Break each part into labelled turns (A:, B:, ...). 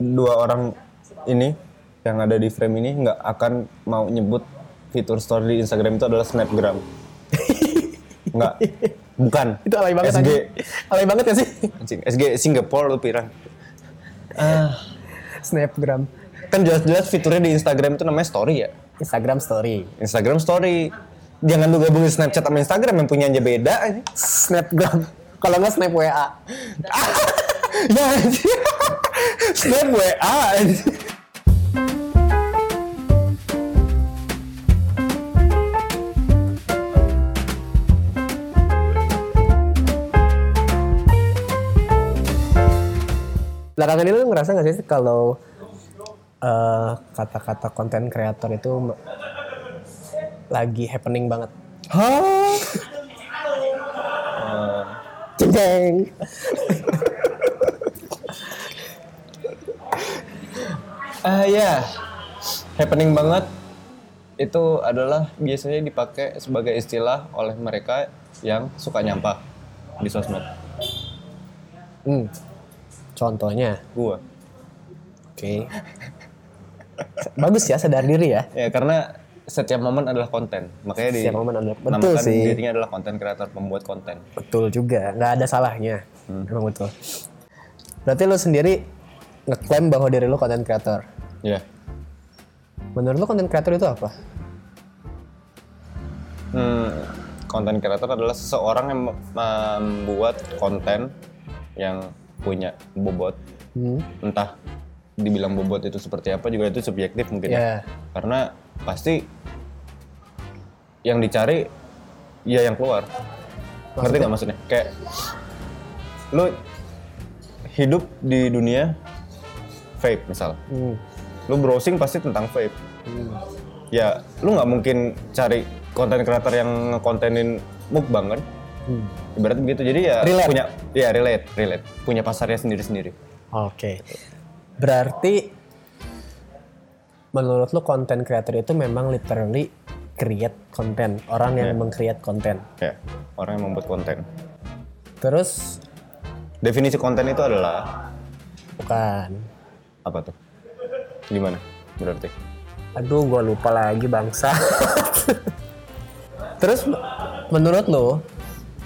A: dua orang ini yang ada di frame ini nggak akan mau nyebut fitur story di Instagram itu adalah snapgram. nggak, bukan.
B: Itu alay banget
A: SG,
B: anjing. Alay banget ya sih?
A: anjing. SG Singapore lu pirang.
B: Ah, Snapgram.
A: Kan jelas-jelas fiturnya di Instagram itu namanya story ya.
B: Instagram story.
A: Instagram story. Jangan lu gabungin Snapchat sama Instagram yang punya aja beda. anjing.
B: Snapgram. Kalau nggak Snap WA.
A: ya anjing. Snap WA. anjing.
B: Belakangan ini lu ngerasa nggak sih kalau eh, kata-kata konten kreator itu me- lagi happening banget?
A: Hah?
B: Eh, Ceng.
A: Ah
B: iya.
A: ya, happening banget itu adalah biasanya dipakai sebagai istilah oleh mereka yang suka nyampah di sosmed.
B: Hmm. Contohnya,
A: Gua.
B: oke. Bagus ya sadar diri ya.
A: Ya karena setiap momen adalah konten, makanya di
B: Setiap momen adalah- betul
A: namakan
B: sih.
A: dirinya adalah konten kreator pembuat konten.
B: Betul juga, nggak ada salahnya. Emang betul. Berarti lu sendiri ngeklaim bahwa diri lu konten kreator.
A: Ya.
B: Menurut lu konten kreator itu apa?
A: Hmm, konten kreator adalah seseorang yang mem- membuat konten yang punya bobot.
B: Hmm.
A: Entah dibilang bobot itu seperti apa juga itu subjektif mungkin ya.
B: Ya,
A: karena pasti yang dicari ya yang keluar ngerti nggak maksudnya kayak lu hidup di dunia vape misal
B: Hmm.
A: lu browsing pasti tentang vape ya lu nggak mungkin cari konten kreator yang ngekontenin mukbang kan
B: Hmm.
A: ibarat begitu jadi ya
B: Relate.
A: punya ya relate relate punya pasarnya sendiri sendiri
B: Oke. Berarti menurut lu konten kreator itu memang literally create konten, orang yang meng-create konten.
A: ya orang yang membuat konten
B: Terus
A: definisi konten itu adalah
B: bukan.
A: apa tuh gimana berarti
B: Aduh, gua lupa lagi bangsa. Terus menurut lu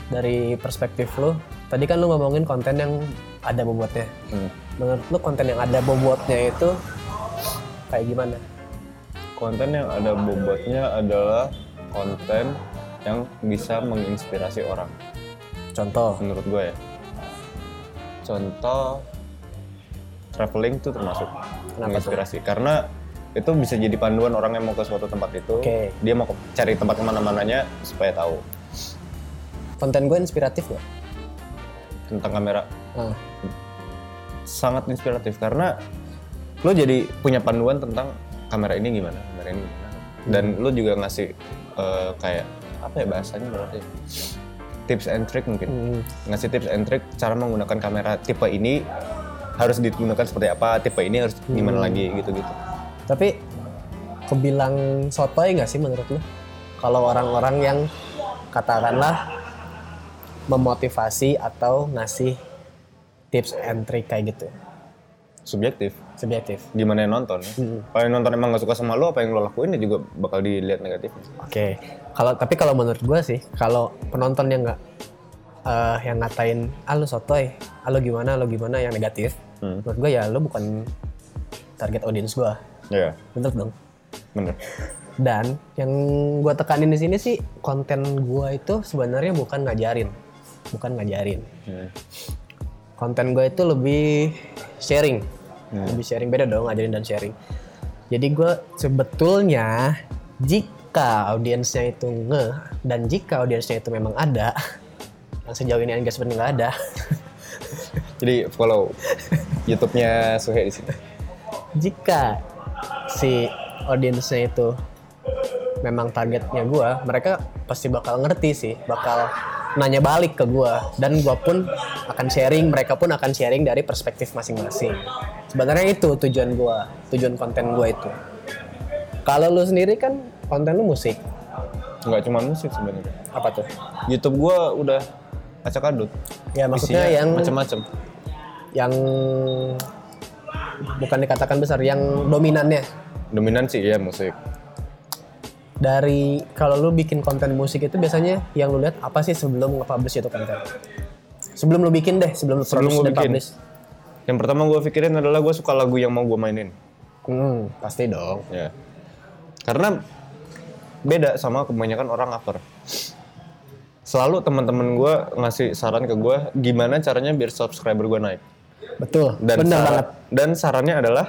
B: dari perspektif lu, tadi kan lu ngomongin konten yang ada bobotnya.
A: Hmm.
B: Menurut lu konten yang ada bobotnya itu kayak gimana?
A: konten yang ada bobotnya adalah konten yang bisa menginspirasi orang
B: Contoh.
A: menurut gue ya contoh traveling tuh termasuk menginspirasi karena itu bisa jadi panduan orang yang mau ke suatu tempat itu
B: Oke.
A: dia mau ke- cari tempat kemana-mananya supaya tahu
B: Konten gue inspiratif gak?
A: tentang kamera
B: Ah,
A: sangat inspiratif karena lo jadi punya panduan tentang kamera ini gimana, kamera ini gimana. Dan lo juga ngasih eh, kayak apa ya bahasanya berarti tips and trick mungkin.
B: hmm.
A: Ngasih tips and trick cara menggunakan kamera tipe ini harus digunakan seperti apa, tipe ini harus gimana lagi gitu-gitu.
B: Tapi kebilang sotoy nggak sih menurut lu? Kalau orang-orang yang katakanlah memotivasi atau ngasih tips and trick kayak gitu,
A: Subjektif.
B: subjektif.
A: Gimana yang nonton? ya. Kalau yang nonton emang gak suka sama lo, apa yang lo lakuin ya juga bakal dilihat negatifnya.
B: Oke, kalau tapi kalau menurut gua sih, kalau penonton yang nggak eh, yang ngatain, ah lu sotoy, ah lu gimana, lu gimana yang negatif,
A: Hmm.
B: menurut gua ya lu bukan target audience gua,
A: Iya,
B: bener dong.
A: bener.
B: Dan yang gue tekanin di sini sih konten gue itu sebenarnya bukan ngajarin, bukan ngajarin.
A: Hmm.
B: Konten gue itu lebih sharing, lebih sharing beda dong ngajarin dan sharing. Jadi gue sebetulnya jika audiensnya itu nge dan jika audiensnya itu memang ada, yang sejauh ini engagement nggak ada,
A: Jadi follow YouTube-nya Suhe di sini.
B: jika si audiensnya itu memang targetnya gua, mereka pasti bakal ngerti sih, bakal nanya balik ke gua dan gua pun akan sharing, mereka pun akan sharing dari perspektif masing-masing. Sebenarnya itu tujuan gua, tujuan konten gua itu. Kalau lu sendiri kan konten lu musik,
A: Nggak cuma musik sebenarnya.
B: apa tuh?
A: YouTube gua udah acak adut.
B: Ya maksudnya
A: Isinya
B: yang
A: macam-macam.
B: yang bukan dikatakan besar yang dominannya
A: dominan sih ya musik
B: dari kalau lu bikin konten musik itu biasanya yang lu lihat apa sih sebelum nge-publish itu konten sebelum lu bikin deh sebelum lu
A: Sebelum
B: produce
A: gua
B: dan
A: bikin.
B: publish
A: yang pertama gue pikirin adalah gue suka lagu yang mau gue mainin
B: hmm, pasti dong
A: ya karena beda sama kebanyakan orang cover selalu teman-teman gue ngasih saran ke gue gimana caranya biar subscriber gue naik
B: betul
A: dan
B: bener
A: sar-
B: banget
A: dan sarannya adalah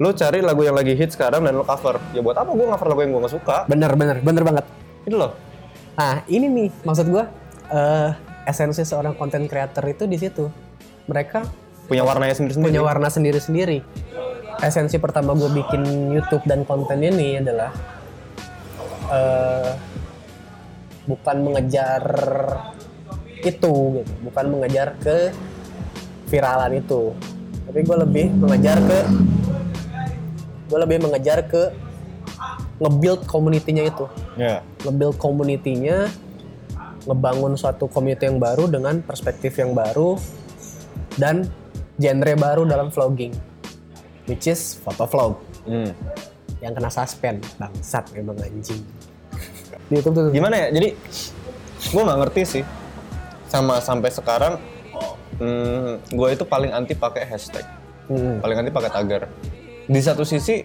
A: lo cari lagu yang lagi hit sekarang dan lo cover ya buat apa gue cover lagu yang gue gak suka
B: bener bener bener banget
A: itu loh
B: Nah, ini nih maksud gua eh, esensi seorang content creator itu di situ. Mereka
A: punya warnanya sendiri-sendiri
B: punya warna sendiri-sendiri. Esensi pertama gue bikin YouTube dan konten ini adalah eh, bukan mengejar itu, gitu. bukan mengejar ke viralan itu, tapi gue lebih mengejar ke gue lebih mengejar ke nge-build community-nya itu
A: ya
B: nge-build community-nya, ngebangun suatu community yang baru dengan perspektif yang baru dan genre baru dalam vlogging, which is foto vlog
A: Hmm.
B: yang kena suspend bangsat memang anjing. Di YouTube tuh
A: gimana ya jadi gue nggak ngerti sih sama sampai sekarang hmm, gue itu paling anti pakai hashtag
B: Mm,
A: paling anti pakai tagar di satu sisi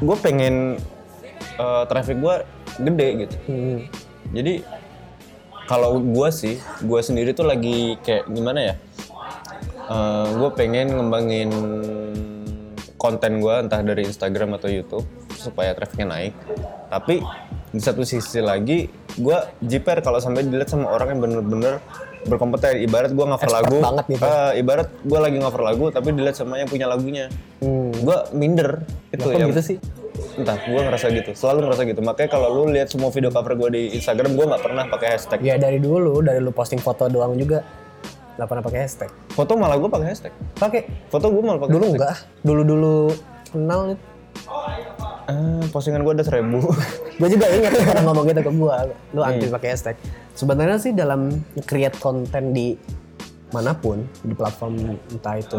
A: gue pengen eh, traffic gue gede gitu
B: mm,
A: jadi kalau gue sih gue sendiri tuh lagi kayak gimana ya gue pengen ngembangin konten gue entah dari Instagram atau YouTube supaya trafficnya naik tapi di satu sisi lagi gue jiper kalau sampai dilihat sama orang yang bener-bener berkompeten ibarat gue cover
B: Expert
A: lagu
B: banget gitu.
A: eh, ibarat gue lagi cover lagu tapi dilihat sama yang punya lagunya
B: mm.
A: gue minder itu ya.
B: Kok
A: yang
B: gitu sih?
A: entah gue ngerasa gitu selalu ngerasa gitu makanya kalau lu lihat semua video cover gue di Instagram gue nggak pernah pakai hashtag
B: Ya dari dulu, dari lu posting foto doang juga nggak pernah pakai hashtag.
A: foto malah gue pakai hashtag
B: Pakai
A: foto gue malah pakai
B: dulu enggak? Dulu-dulu kenal nih.
A: Ah, postingan gue ada seribu
B: gue juga ingat tuh orang ngomong gitu ke gue lu anti pakai hashtag sebenarnya sih dalam create konten di manapun di platform entah itu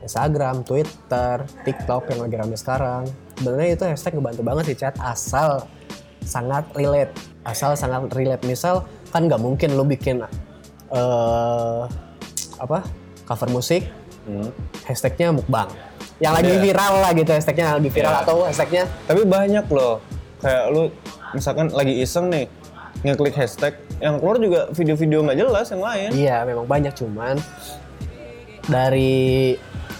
B: Instagram, Twitter, TikTok yang lagi rame sekarang sebenarnya itu hashtag ngebantu banget sih chat asal sangat relate asal sangat relate misal kan nggak mungkin lu bikin eh apa cover musik
A: Hmm.
B: hashtagnya mukbang yang lagi viral lah gitu hashtagnya yang lagi viral
A: Iya.
B: atau hashtagnya
A: tapi banyak loh kayak lu misalkan lagi iseng nih ngeklik hashtag yang keluar juga video-video nggak jelas yang lain
B: Iya, memang banyak cuman dari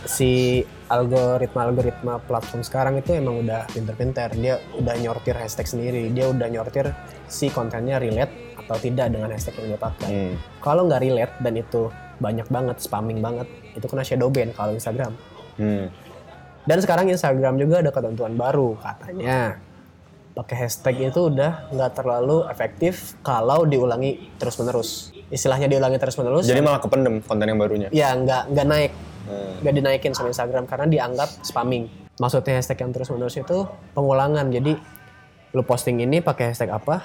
B: si algoritma-algoritma platform sekarang itu emang udah pinter-pinter. Dia udah nyortir hashtag sendiri. Dia udah nyortir si kontennya relate atau tidak dengan hashtag yang dia pakai.
A: Hmm.
B: Kalau nggak relate dan itu banyak banget, spamming banget, itu kena shadow ban kalau Instagram.
A: Hmm.
B: Dan sekarang Instagram juga ada ketentuan baru katanya. Pakai hashtag itu udah nggak terlalu efektif kalau diulangi terus-menerus. Istilahnya diulangi terus-menerus.
A: jadi malah kependem konten yang barunya
B: ya nggak nggak naik
A: Hmm.
B: nggak dinaikin sama Instagram karena dianggap spamming maksudnya hashtag yang terus menerus itu pengulangan jadi lu posting ini pakai hashtag apa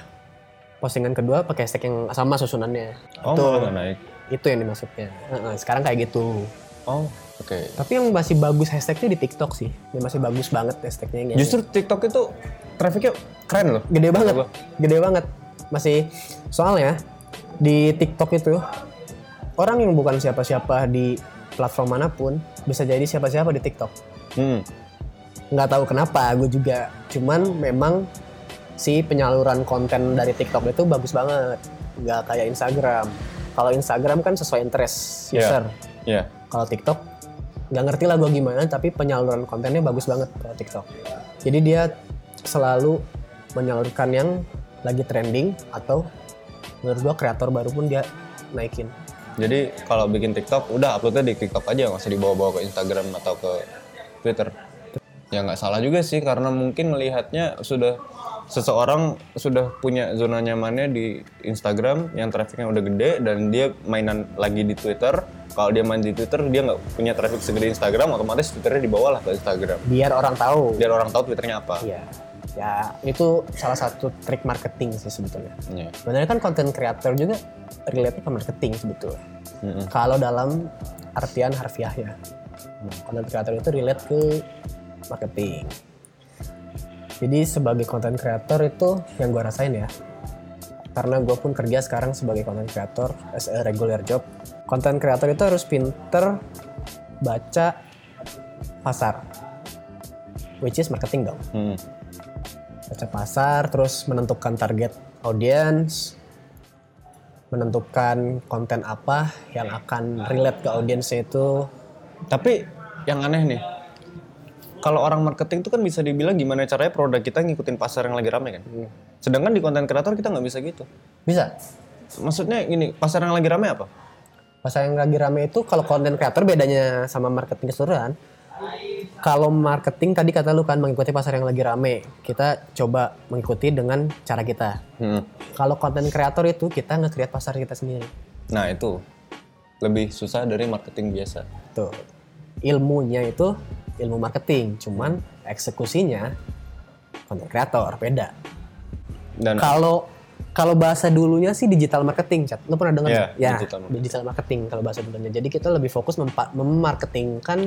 B: postingan kedua pakai hashtag yang sama susunannya
A: oh
B: Tuh.
A: malah nggak naik
B: itu yang dimaksudnya Heeh, sekarang kayak gitu
A: oh oke
B: tapi yang masih bagus hashtagnya di TikTok sih yang masih bagus banget hashtagnya yang
A: justru TikTok itu trafficnya keren loh
B: gede banget
A: Apa?
B: gede banget masih soalnya di TikTok itu orang yang bukan siapa-siapa di platform manapun bisa jadi siapa-siapa di TikTok
A: Hmm.
B: nggak tahu kenapa gue juga cuman memang si penyaluran konten dari TikTok itu bagus banget nggak kayak Instagram kalau Instagram kan sesuai interest
A: Iya.
B: user
A: ya
B: kalau TikTok nggak ngerti lah gue gimana tapi penyaluran kontennya bagus banget kalau TikTok jadi dia selalu menyalurkan yang lagi trending atau menurut gue kreator baru pun dia naikin
A: Jadi kalau bikin TikTok, udah uploadnya di TikTok aja, nggak usah dibawa-bawa ke Instagram atau ke Twitter. Ya nggak salah juga sih, karena mungkin melihatnya sudah seseorang sudah punya zona nyamannya di Instagram yang trafficnya udah gede dan dia mainan lagi di Twitter. Kalau dia main di Twitter, dia nggak punya traffic segede Instagram, otomatis Twitternya dibawa lah ke Instagram.
B: biar orang tahu
A: Biar orang tahu Twitternya apa.
B: ya ya itu salah satu trik marketing sih sebetulnya
A: Iya.
B: sebenarnya kan konten creator juga relate ke marketing sebetulnya
A: Mm-mm.
B: kalau dalam artian harfiahnya Content creator itu relate ke marketing. Jadi sebagai content creator itu yang gue rasain ya. Karena gue pun kerja sekarang sebagai content creator as a regular job. Content creator itu harus pinter baca pasar. Which is marketing dong.
A: Hmm.
B: Baca pasar, terus menentukan target audience, menentukan konten apa yang akan relate ke audiensnya itu
A: Tapi yang aneh nih, kalau orang marketing itu kan bisa dibilang gimana caranya produk kita ngikutin pasar yang lagi rame kan. Sedangkan di konten kreator kita nggak bisa gitu.
B: bisa
A: Maksudnya gini, pasar yang lagi rame apa?
B: Pasar yang lagi rame itu kalau konten creator bedanya sama marketing keseluruhan. Kalau marketing tadi kata lu kan mengikuti pasar yang lagi rame, kita coba mengikuti dengan cara kita.
A: Hmm.
B: Kalau konten creator itu kita nge-create pasar kita sendiri.
A: Nah itu lebih susah dari marketing biasa.
B: Tuh. Ilmunya itu ilmu marketing, cuman eksekusinya konten creator beda.
A: Dan
B: Kalau kalau bahasa dulunya sih digital marketing, Chat. Lu pernah dengar?
A: Iya,
B: nggak? ya,
A: digital
B: digital
A: marketing.
B: marketing. kalau bahasa dulunya. Jadi kita lebih fokus mempa- memarketingkan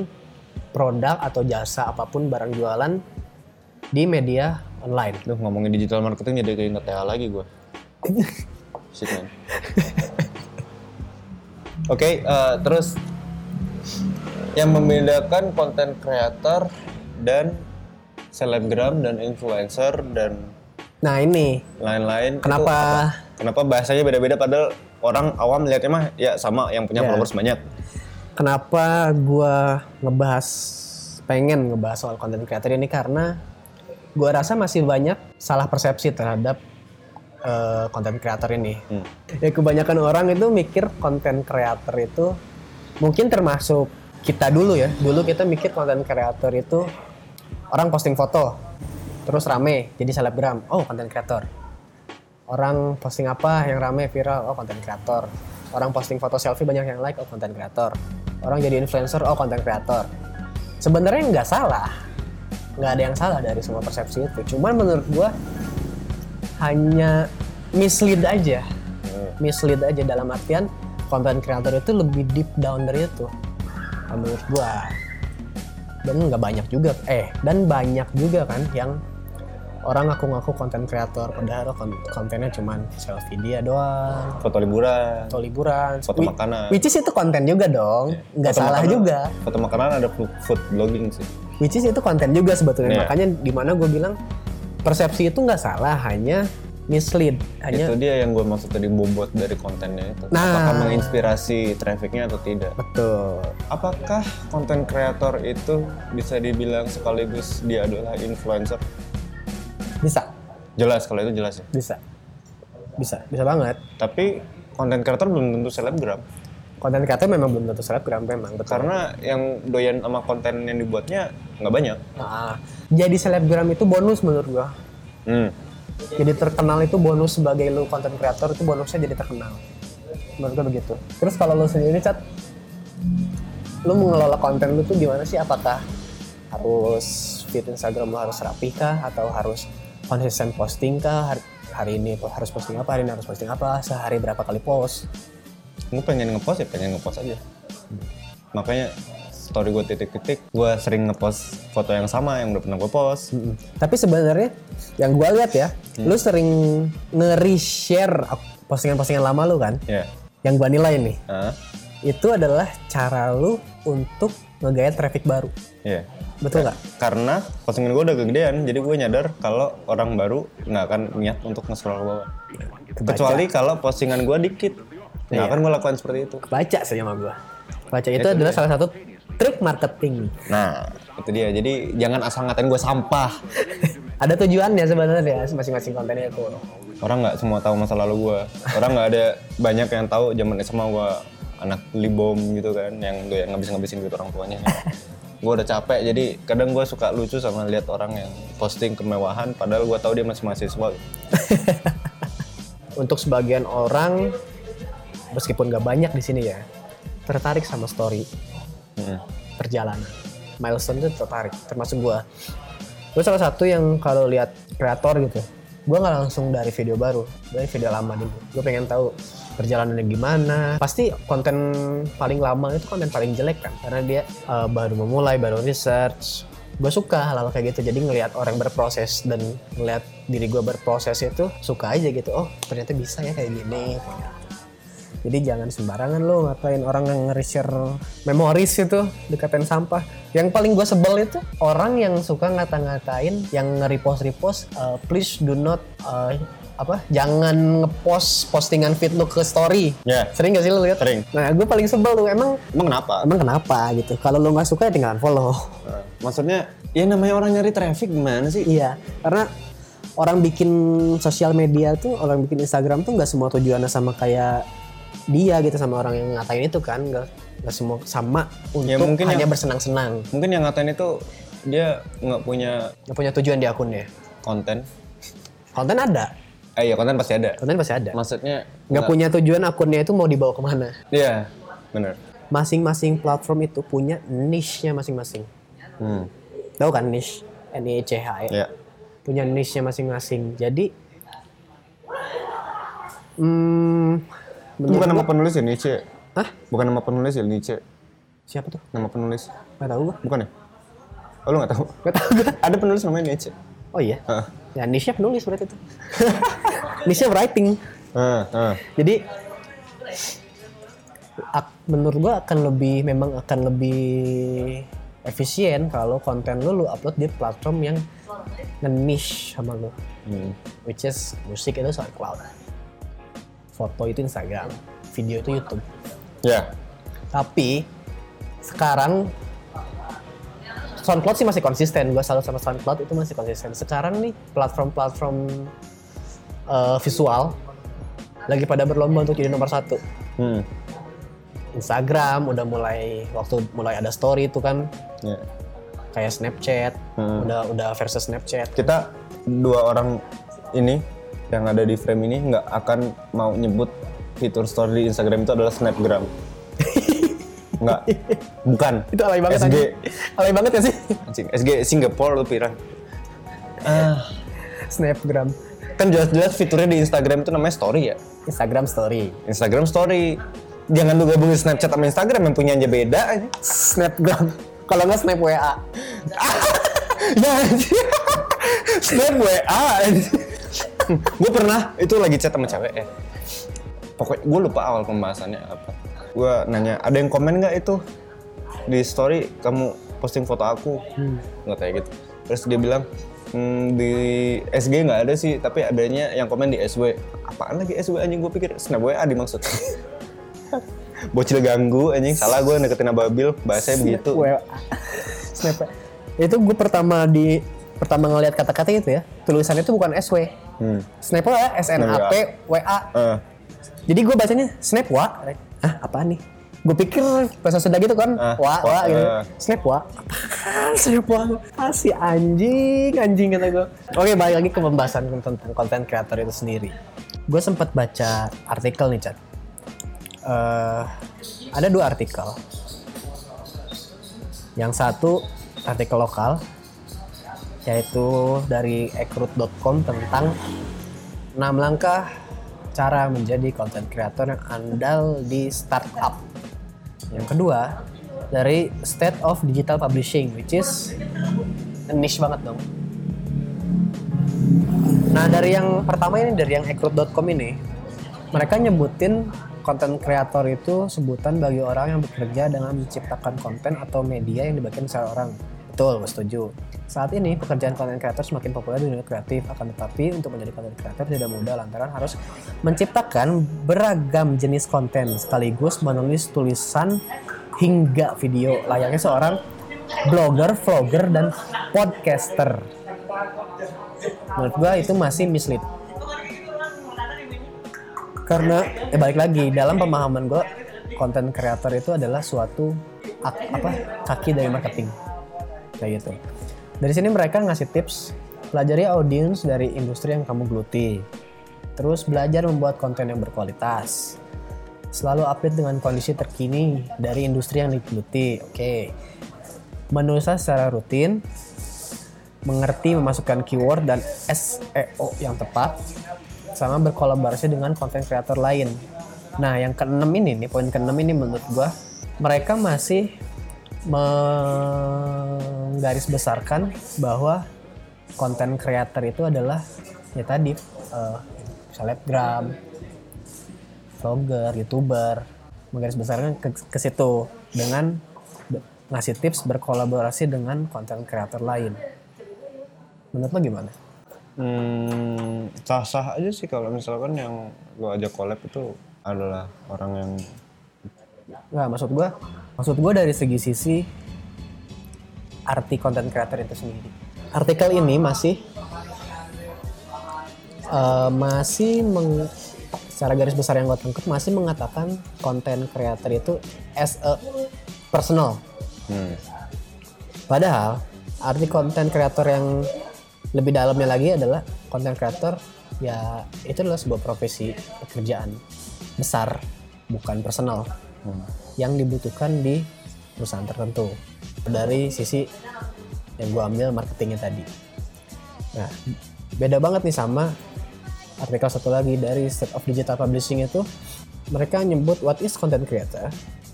B: produk atau jasa apapun barang jualan di media online.
A: Duh, ngomongin digital marketing jadi keinget TH lagi gue. Shit man. Oke, eh, terus yang membedakan konten creator dan selebgram dan influencer dan
B: Nah, ini
A: lain-lain. itu
B: kenapa
A: apa? Kenapa bahasanya beda-beda padahal orang awam lihatnya mah ya sama yang punya
B: Ya.
A: followers banyak.
B: kenapa gua ngebahas pengen ngebahas soal konten creator ini karena gua rasa masih banyak salah persepsi terhadap konten creator ini.
A: Hmm.
B: ya kebanyakan orang itu mikir konten creator itu mungkin termasuk kita dulu ya dulu kita mikir konten creator itu orang posting foto terus rame jadi selebgram oh konten creator orang posting apa yang rame viral oh konten creator orang posting foto selfie banyak yang like oh konten creator orang jadi influencer oh konten creator sebenarnya nggak salah nggak ada yang salah dari semua persepsi itu cuman menurut gua hanya mislead aja mislead aja dalam artian konten creator itu lebih deep down dari itu kalau menurut gua dan nggak banyak juga eh dan banyak juga kan yang orang ngaku-ngaku konten creator padahal kon- kontennya cuman selfie dia doang
A: Foto liburan,
B: atau liburan
A: foto
B: Wi-
A: makanan. Iya,
B: which is itu konten juga dong nggak
A: Foto
B: salah
A: makanan-
B: juga
A: Foto makanan ada food- food blogging sih.
B: which is itu konten juga sebetulnya
A: Iya.
B: makanya dimana gue bilang persepsi itu nggak salah hanya mislead hanya
A: Itu dia yang gue maksud tadi bobot dari kontennya itu.
B: Nah.
A: Apakah menginspirasi trafficnya atau tidak?
B: betul
A: Apakah konten kreator itu bisa dibilang sekaligus dia adalah influencer?
B: bisa
A: Jelas kalau itu jelas ya.
B: bisa bisa bisa banget
A: Tapi konten kreator belum tentu selebgram
B: konten kreator memang belum tentu selebgram memang betul
A: karena yang doyan sama konten yang dibuatnya nggak banyak.
B: Nah, jadi selebgram itu bonus menurut gua
A: Hmm.
B: jadi terkenal itu bonus sebagai lu konten kreator itu bonusnya jadi terkenal menurut gua begitu terus kalau lu sendiri cat lu mengelola konten lu tuh gimana sih apakah harus feed Instagram lu harus rapi kah atau harus konsisten posting kah hari, hari ini harus posting apa hari ini harus posting apa sehari berapa kali post
A: Gue pengen ngepost ya pengen ngepost aja. Makanya story gue titik-titik, gue sering ngepost foto yang sama yang udah pernah gue post.
B: Mm-mm. Tapi sebenarnya yang gua lihat ya, lu sering nge-reshare ak- postingan-postingan lama lu kan?
A: Ya.
B: Yang gua nilai nih,
A: Ah.
B: itu adalah cara lu untuk ngegait traffic baru.
A: Ya.
B: Betul nggak?
A: karena postingan gue udah kegedean jadi gue nyadar kalau orang baru nggak akan niat untuk nge-scroll ke bawah kecuali kalau postingan gue dikit nggak akan gue lakukan seperti itu
B: Baca saja sama gua. Baca itu adalah salah satu trik marketing.
A: nah itu dia jadi jangan asal ngatain gue sampah
B: Ada tujuannya sebenarnya ya, masing-masing kontennya itu.
A: orang nggak semua tahu masa lalu gue orang nggak ada banyak yang tahu zaman SMA gue anak libom gitu kan yang doyan ngabis-ngabisin duit orang tuanya gue udah capek jadi kadang gue suka lucu sama lihat orang yang posting kemewahan padahal gue tahu dia masih mahasiswa
B: Untuk sebagian orang, meskipun nggak banyak di sini ya, tertarik sama story
A: Mm-mm.
B: perjalanan milestone itu tertarik termasuk gua gue salah satu yang kalau lihat kreator gitu gue nggak langsung dari video baru dari video lama dulu gue pengen tahu perjalanannya gimana pasti konten paling lama itu konten paling jelek kan karena dia eh, baru memulai baru research gue suka hal-hal kayak gitu jadi ngelihat orang berproses dan ngelihat diri gue berproses itu suka aja gitu oh ternyata bisa ya kayak gini jadi jangan sembarangan lo ngatain orang yang nge-share memoris itu dikatain sampah. Yang paling gue sebel itu orang yang suka ngata-ngatain yang nge-repost-repost uh, please do not uh, apa jangan ngepost postingan feed lo ke story.
A: Ya.
B: Sering gak sih lo lihat?
A: Sering.
B: Nah gue paling sebel tuh emang
A: Emang kenapa?
B: emang kenapa gitu. Kalau lo nggak suka ya tinggal follow.
A: Nah, maksudnya ya namanya orang nyari traffic gimana sih?
B: Iya, karena orang bikin sosial media tuh, orang bikin Instagram tuh nggak semua tujuannya sama kayak dia gitu sama orang yang ngatain itu kan, nggak nggak semua sama untuk
A: Ya, mungkin
B: hanya
A: yang-
B: bersenang-senang.
A: Mungkin yang ngatain itu dia nggak punya
B: Nggak punya tujuan di akunnya.
A: konten.
B: Konten ada,
A: Eh iya konten pasti ada.
B: konten pasti ada.
A: Maksudnya
B: Nggak punya tujuan akunnya itu mau dibawa kemana?
A: Iya, bener.
B: Masing-masing platform itu punya niche-nya masing-masing.
A: Hmm,
B: Tahu kan niche? N I C H ya.
A: iya.
B: punya niche-nya masing-masing. Jadi, hmm,
A: Itu
B: menurut
A: bukan nama
B: gua-
A: penulis ya Nietzsche.
B: Hah?
A: Bukan nama penulis ya Nietzsche.
B: Siapa tuh?
A: Nama penulis.
B: Gak tau gue.
A: Bukan ya? Oh, lu nggak tahu?
B: Gak tau gue.
A: Ada penulis namanya Nietzsche.
B: Oh iya.
A: Heeh.
B: Ya niche-nya penulis berarti itu. niche-nya writing.
A: Heeh, heeh.
B: Jadi ak- menurut gua akan lebih memang akan lebih efisien kalau konten lu lu upload di platform yang nge-niche sama lu.
A: Hmm.
B: Which is musik itu SoundCloud. Foto itu Instagram, video itu YouTube.
A: Ya.
B: Tapi sekarang SoundCloud sih masih konsisten. Gua salut sama SoundCloud itu masih konsisten. Sekarang nih platform-platform eh, visual lagi pada berlomba untuk jadi nomor satu.
A: Hmm.
B: Instagram udah mulai waktu mulai ada story itu kan
A: Ya.
B: kayak Snapchat
A: Hmm.
B: udah udah versus Snapchat.
A: Kita dua orang ini yang ada di frame ini nggak akan mau nyebut fitur story di Instagram itu adalah snapgram. Nggak. Bukan.
B: Itu alay banget
A: SG.
B: anjing. Alay banget ya sih
A: Anjing, SG Singapore lu pirang. Ah,
B: Snapgram.
A: kan jelas-jelas fiturnya di Instagram itu namanya story ya.
B: Instagram story.
A: Instagram story. Jangan lu gabungin Snapchat sama Instagram yang punya aja beda aja.
B: Snapgram. Kalau nggak Snap WA.
A: ya anjing. Snap WA gue pernah itu lagi chat sama cewek ya pokoknya gue lupa awal pembahasannya apa gue nanya ada yang komen nggak itu di story kamu posting foto aku nggak kayak gitu terus dia bilang "Hmm, di SG nggak ada sih tapi adanya yang komen di SW apaan lagi SW anjing gue pikir snap WA dimaksud bocil ganggu anjing salah gue deketin ababil bahasanya begitu
B: WA. Snap. Itu gue pertama di pertama ngelihat kata-kata itu ya. Tulisannya itu bukan SW.
A: hmm.
B: Snap WA, S N A P WA.
A: Eh,
B: Jadi gue bacanya snap wa. Hah, apaan nih? Gue pikir bahasa Sunda gitu kan,
A: Ah,
B: wa,
A: wa,
B: wa, gitu.
A: eh.
B: Snap wa, apaan snap wa? Ah, si anjing, anjing kata gue. Oke, balik lagi ke pembahasan tentang konten kreator itu sendiri. Gue sempat baca artikel nih, Chat. Eh, ada dua artikel. Yang satu artikel lokal, yaitu dari ekrut.com tentang 6 langkah cara menjadi content creator yang andal di startup. Yang kedua, dari State of Digital Publishing, which is niche banget dong. Nah, dari yang pertama ini, dari yang ekrut.com ini, mereka nyebutin konten kreator itu sebutan bagi orang yang bekerja dengan menciptakan konten atau media yang dibagikan seorang. Betul, gue setuju. Saat ini, pekerjaan konten kreator semakin populer di dunia kreatif. Akan tetapi, untuk menjadi konten kreator tidak mudah lantaran harus menciptakan beragam jenis konten sekaligus menulis tulisan hingga video layaknya seorang blogger, vlogger, dan podcaster. Menurut gue itu masih mislead karena eh, balik lagi dalam pemahaman gue konten kreator itu adalah suatu ak- apa kaki dari marketing kayak gitu dari sini mereka ngasih tips pelajari audiens dari industri yang kamu geluti terus belajar membuat konten yang berkualitas selalu update dengan kondisi terkini dari industri yang digeluti oke menulis secara rutin mengerti memasukkan keyword dan SEO yang tepat sama berkolaborasi dengan konten kreator lain. Nah, yang keenam ini nih, poin keenam ini menurut gua mereka masih menggarisbesarkan bahwa konten kreator itu adalah ya tadi eh, selebgram, vlogger, youtuber menggarisbesarkan ke, ke situ dengan be- ngasih tips berkolaborasi dengan konten kreator lain. Menurut lo gimana?
A: Hmm, sah-sah aja sih kalau misalkan yang lo ajak collab itu adalah orang yang
B: Nggak, maksud gua, maksud gua dari segi sisi arti konten creator itu sendiri. Artikel ini masih eh, masih meng, secara garis besar yang gue tangkap masih mengatakan konten creator itu as a personal.
A: hmm,
B: Padahal arti konten kreator yang lebih dalamnya lagi adalah konten kreator ya itu adalah sebuah profesi pekerjaan besar bukan personal
A: hmm.
B: yang dibutuhkan di perusahaan tertentu dari sisi yang gue ambil marketingnya tadi. Nah, beda banget nih sama artikel satu lagi dari State of Digital Publishing itu mereka nyebut what is content creator?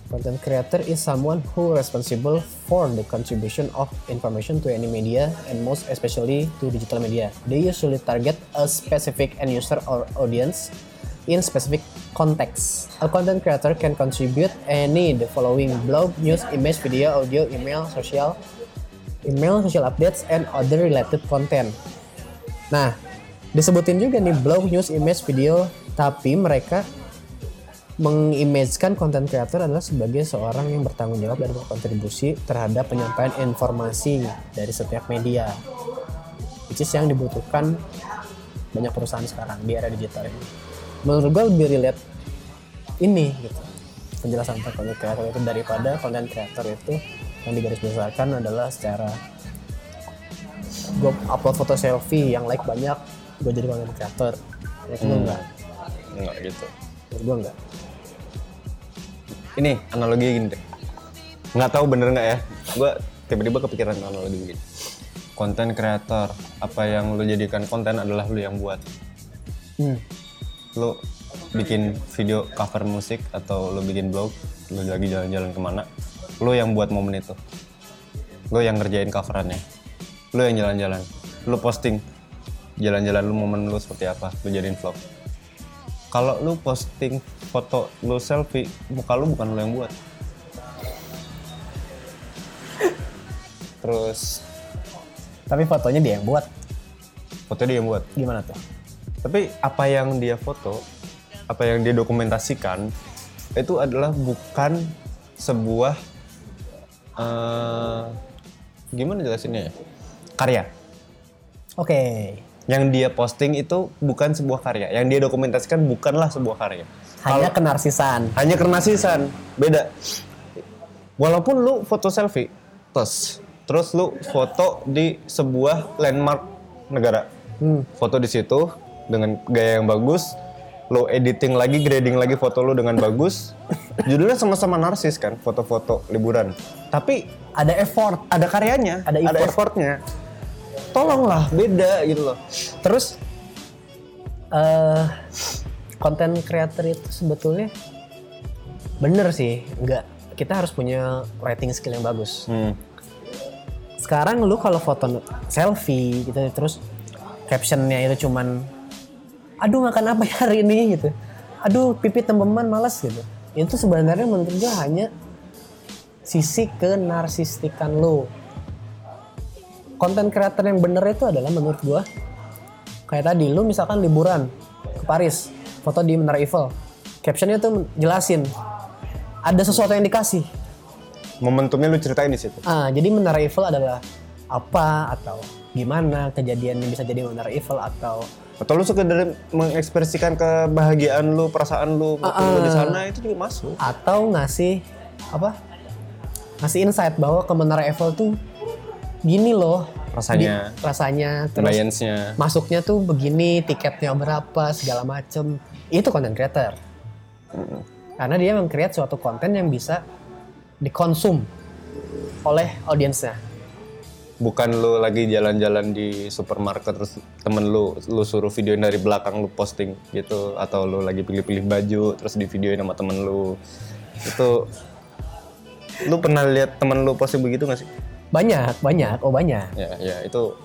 B: Content creator is someone who responsible for the contribution of information to any media and most especially to digital media. They usually target a specific end user or audience in specific context. A content creator can contribute any the following blog, news, image, video, audio, email, social, email, social updates, and other related content. Nah, disebutin juga nih blog, news, image, video, tapi mereka mengimagekan konten creator adalah sebagai seorang yang bertanggung jawab dan berkontribusi terhadap penyampaian informasi dari setiap media. Which is yang dibutuhkan banyak perusahaan sekarang di era digital ini. Menurut gue lebih relate ini gitu penjelasan tentang konten kreator itu daripada konten kreator itu yang digarisbesarkan adalah secara gue upload foto selfie yang like banyak gue jadi konten kreator menurut gue enggak
A: Enggak gitu.
B: menurut gue enggak
A: Ini analoginya gini deh. Nggak tahu bener nggak ya? Gue tiba-tiba kepikiran analogi begini. Konten kreator, apa yang lo jadikan konten adalah lo yang buat.
B: Hmm.
A: Lo bikin video cover musik atau lo bikin blog, lo lagi jalan-jalan kemana, lo yang buat momen itu. Lo yang ngerjain coverannya. Lo yang jalan-jalan. Lo posting jalan-jalan lu momen lu seperti apa, lu jadiin vlog. Kalau lu posting foto lu selfie, muka lu bukan lu yang buat. Terus
B: tapi fotonya dia yang buat
A: foto dia yang buat.
B: gimana tuh
A: Tapi apa yang dia foto, apa yang dia dokumentasikan, itu adalah bukan sebuah eh, gimana jelasinnya ya? Karya.
B: oke
A: Yang dia posting itu bukan sebuah karya. Yang dia dokumentasikan bukanlah sebuah karya.
B: hanya kenarsisan
A: hanya kernasisan beda walaupun lu foto selfie terus terus lu foto di sebuah landmark negara
B: Hmm.
A: foto di situ dengan gaya yang bagus lu editing lagi grading lagi foto lu dengan bagus judulnya sama-sama narsis kan foto-foto liburan tapi
B: ada effort
A: ada karyanya
B: Ada effort.
A: effortnya tolonglah beda gitu loh terus
B: eh konten creator itu sebetulnya bener sih enggak kita harus punya writing skill yang bagus
A: hmm,
B: sekarang lu kalau foto selfie gitu terus captionnya itu cuman aduh makan apa ya hari ini gitu aduh pipi tembeman males gitu itu sebenarnya menurut gue hanya sisi kenarsistikan lu konten kreator yang bener itu adalah menurut gua kayak tadi lu misalkan liburan ke Paris foto di Menara Eiffel captionnya tuh jelasin ada sesuatu yang dikasih
A: momentumnya lu ceritain di situ
B: Ah, jadi Menara Eiffel adalah apa atau gimana kejadian yang bisa jadi Menara Eiffel atau
A: atau lu suka dari mengekspresikan kebahagiaan lu perasaan lu waktu lu di sana itu juga masuk
B: atau ngasih apa? Ngasih insight bahwa ke Menara Eiffel tuh gini loh
A: Rasanya.
B: Di- rasanya terus
A: Ambience-nya
B: masuknya tuh begini, tiketnya berapa, segala macem. Itu konten creator. Karena dia meng-create suatu konten yang bisa dikonsum oleh audiensnya.
A: bukan lu lagi jalan-jalan di supermarket terus temen lu lu suruh videoin dari belakang lu posting gitu atau lu lagi pilih-pilih baju terus di videoin sama temen lu itu lu pernah lihat temen lu posting begitu gak sih
B: Banyak, banyak, oh banyak.
A: ya ya itu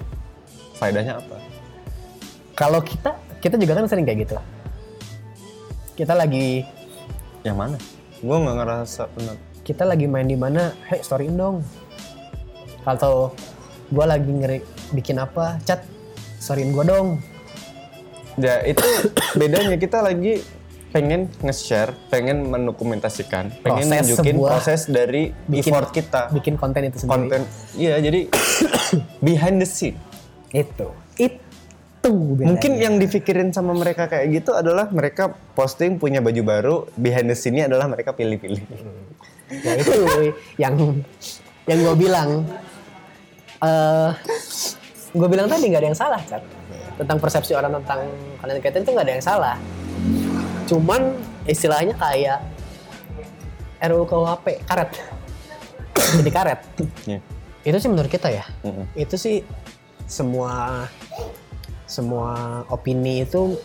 A: faedahnya apa
B: Kalau kita, kita juga kan sering kayak gitu. Kita lagi
A: yang mana gua nggak ngerasa benar
B: kita lagi main di mana, hey storyin dong. Atau gua lagi ngeri bikin apa, chat storyin gua dong.
A: ya itu bedanya kita lagi pengen nge-share, pengen mendokumentasikan, pengen
B: Proses
A: nunjukin
B: sebuah-
A: proses dari
B: Bikin-
A: effort kita.
B: Bikin konten itu sendiri.
A: Ah. konten iya jadi behind the scene
B: Itu, itu. bedanya.
A: mungkin yang dipikirin sama mereka kayak gitu adalah mereka posting punya baju baru behind the scene-nya adalah mereka pilih-pilih
B: ya itu yang yang gue bilang eh gue bilang tadi nggak ada yang salah kan tentang persepsi orang tentang content creator itu nggak ada yang salah cuman istilahnya kayak RUU KUHP karet jadi karet
A: Iya.
B: itu sih menurut kita ya
A: Mm-mm.
B: itu sih semua semua opini itu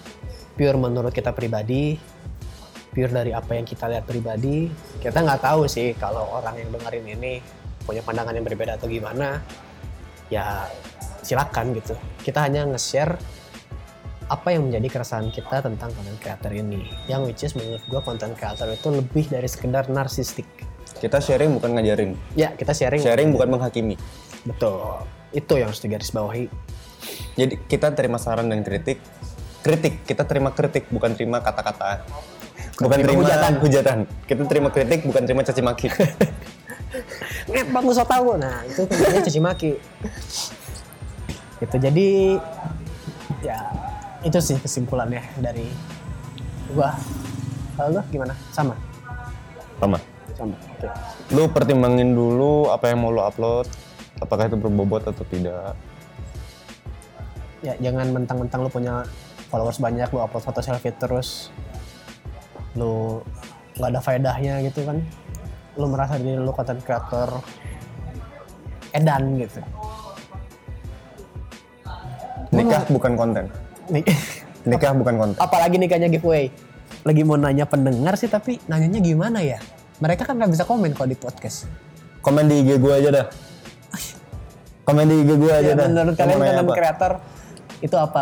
B: pure menurut kita pribadi pure dari apa yang kita lihat pribadi kita nggak tahu sih kalau orang yang dengerin ini punya pandangan yang berbeda atau gimana ya silakan gitu kita hanya nge-share apa yang menjadi keresahan kita tentang content creator ini yang which is menurut gua content creator itu lebih dari sekedar narsistik
A: kita sharing bukan ngajarin
B: ya kita sharing
A: sharing bukan menghakimi
B: betul itu yang harus digarisbawahi
A: jadi kita terima saran dan kritik kritik kita terima kritik bukan terima kata-kata bukan terima
B: hujatan.
A: hujatan hujatan kita terima kritik bukan terima caci maki
B: Ngebang lu so tau Nah itu namanya cuci maki Gitu jadi Ya itu sih kesimpulannya dari gua Kalau lu gimana? Sama?
A: sama
B: Sama Oke
A: lu pertimbangin dulu apa yang mau lu upload apakah itu berbobot atau tidak
B: Ya jangan mentang-mentang lu punya followers banyak Lu upload foto selfie terus Lu nggak ada faedahnya gitu kan Lu merasa diri lu content creator Edan gitu
A: nikah bukan konten
B: Nih
A: nikah bukan konten
B: apalagi nikahnya giveaway lagi mau nanya pendengar sih tapi nanyanya gimana ya mereka kan nggak bisa komen kalau di podcast
A: komen di IG gue aja dah Iya, komen di IG gue aja
B: ya,
A: dah
B: menurut kalian
A: Mau nanya
B: konten
A: apa?
B: kreator itu apa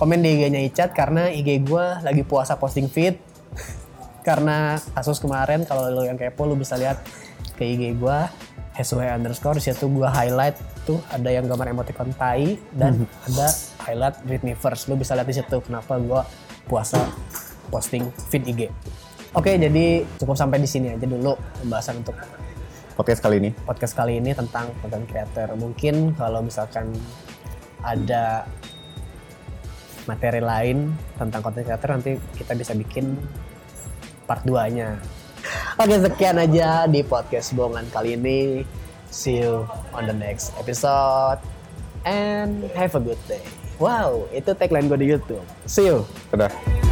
B: komen di IG-nya Icat karena IG gua lagi puasa posting feed karena kasus kemarin kalau lo yang kepo lo bisa lihat ke IG gua Hesue underscore situ gua highlight tuh ada yang gambar emoticon tai dan
A: Mhm.
B: ada highlight Britney first lo bisa lihat di situ kenapa gua puasa posting feed IG oke jadi cukup sampai di sini aja dulu pembahasan untuk
A: podcast kali ini
B: podcast kali ini tentang content creator. Mungkin kalau misalkan ada materi lain tentang content creator nanti kita bisa bikin part 2-nya. Oke, sekian aja di podcast bohongan kali ini. See you on the next episode and have a good day. Wow, itu tagline gue di YouTube. See you.
A: sudah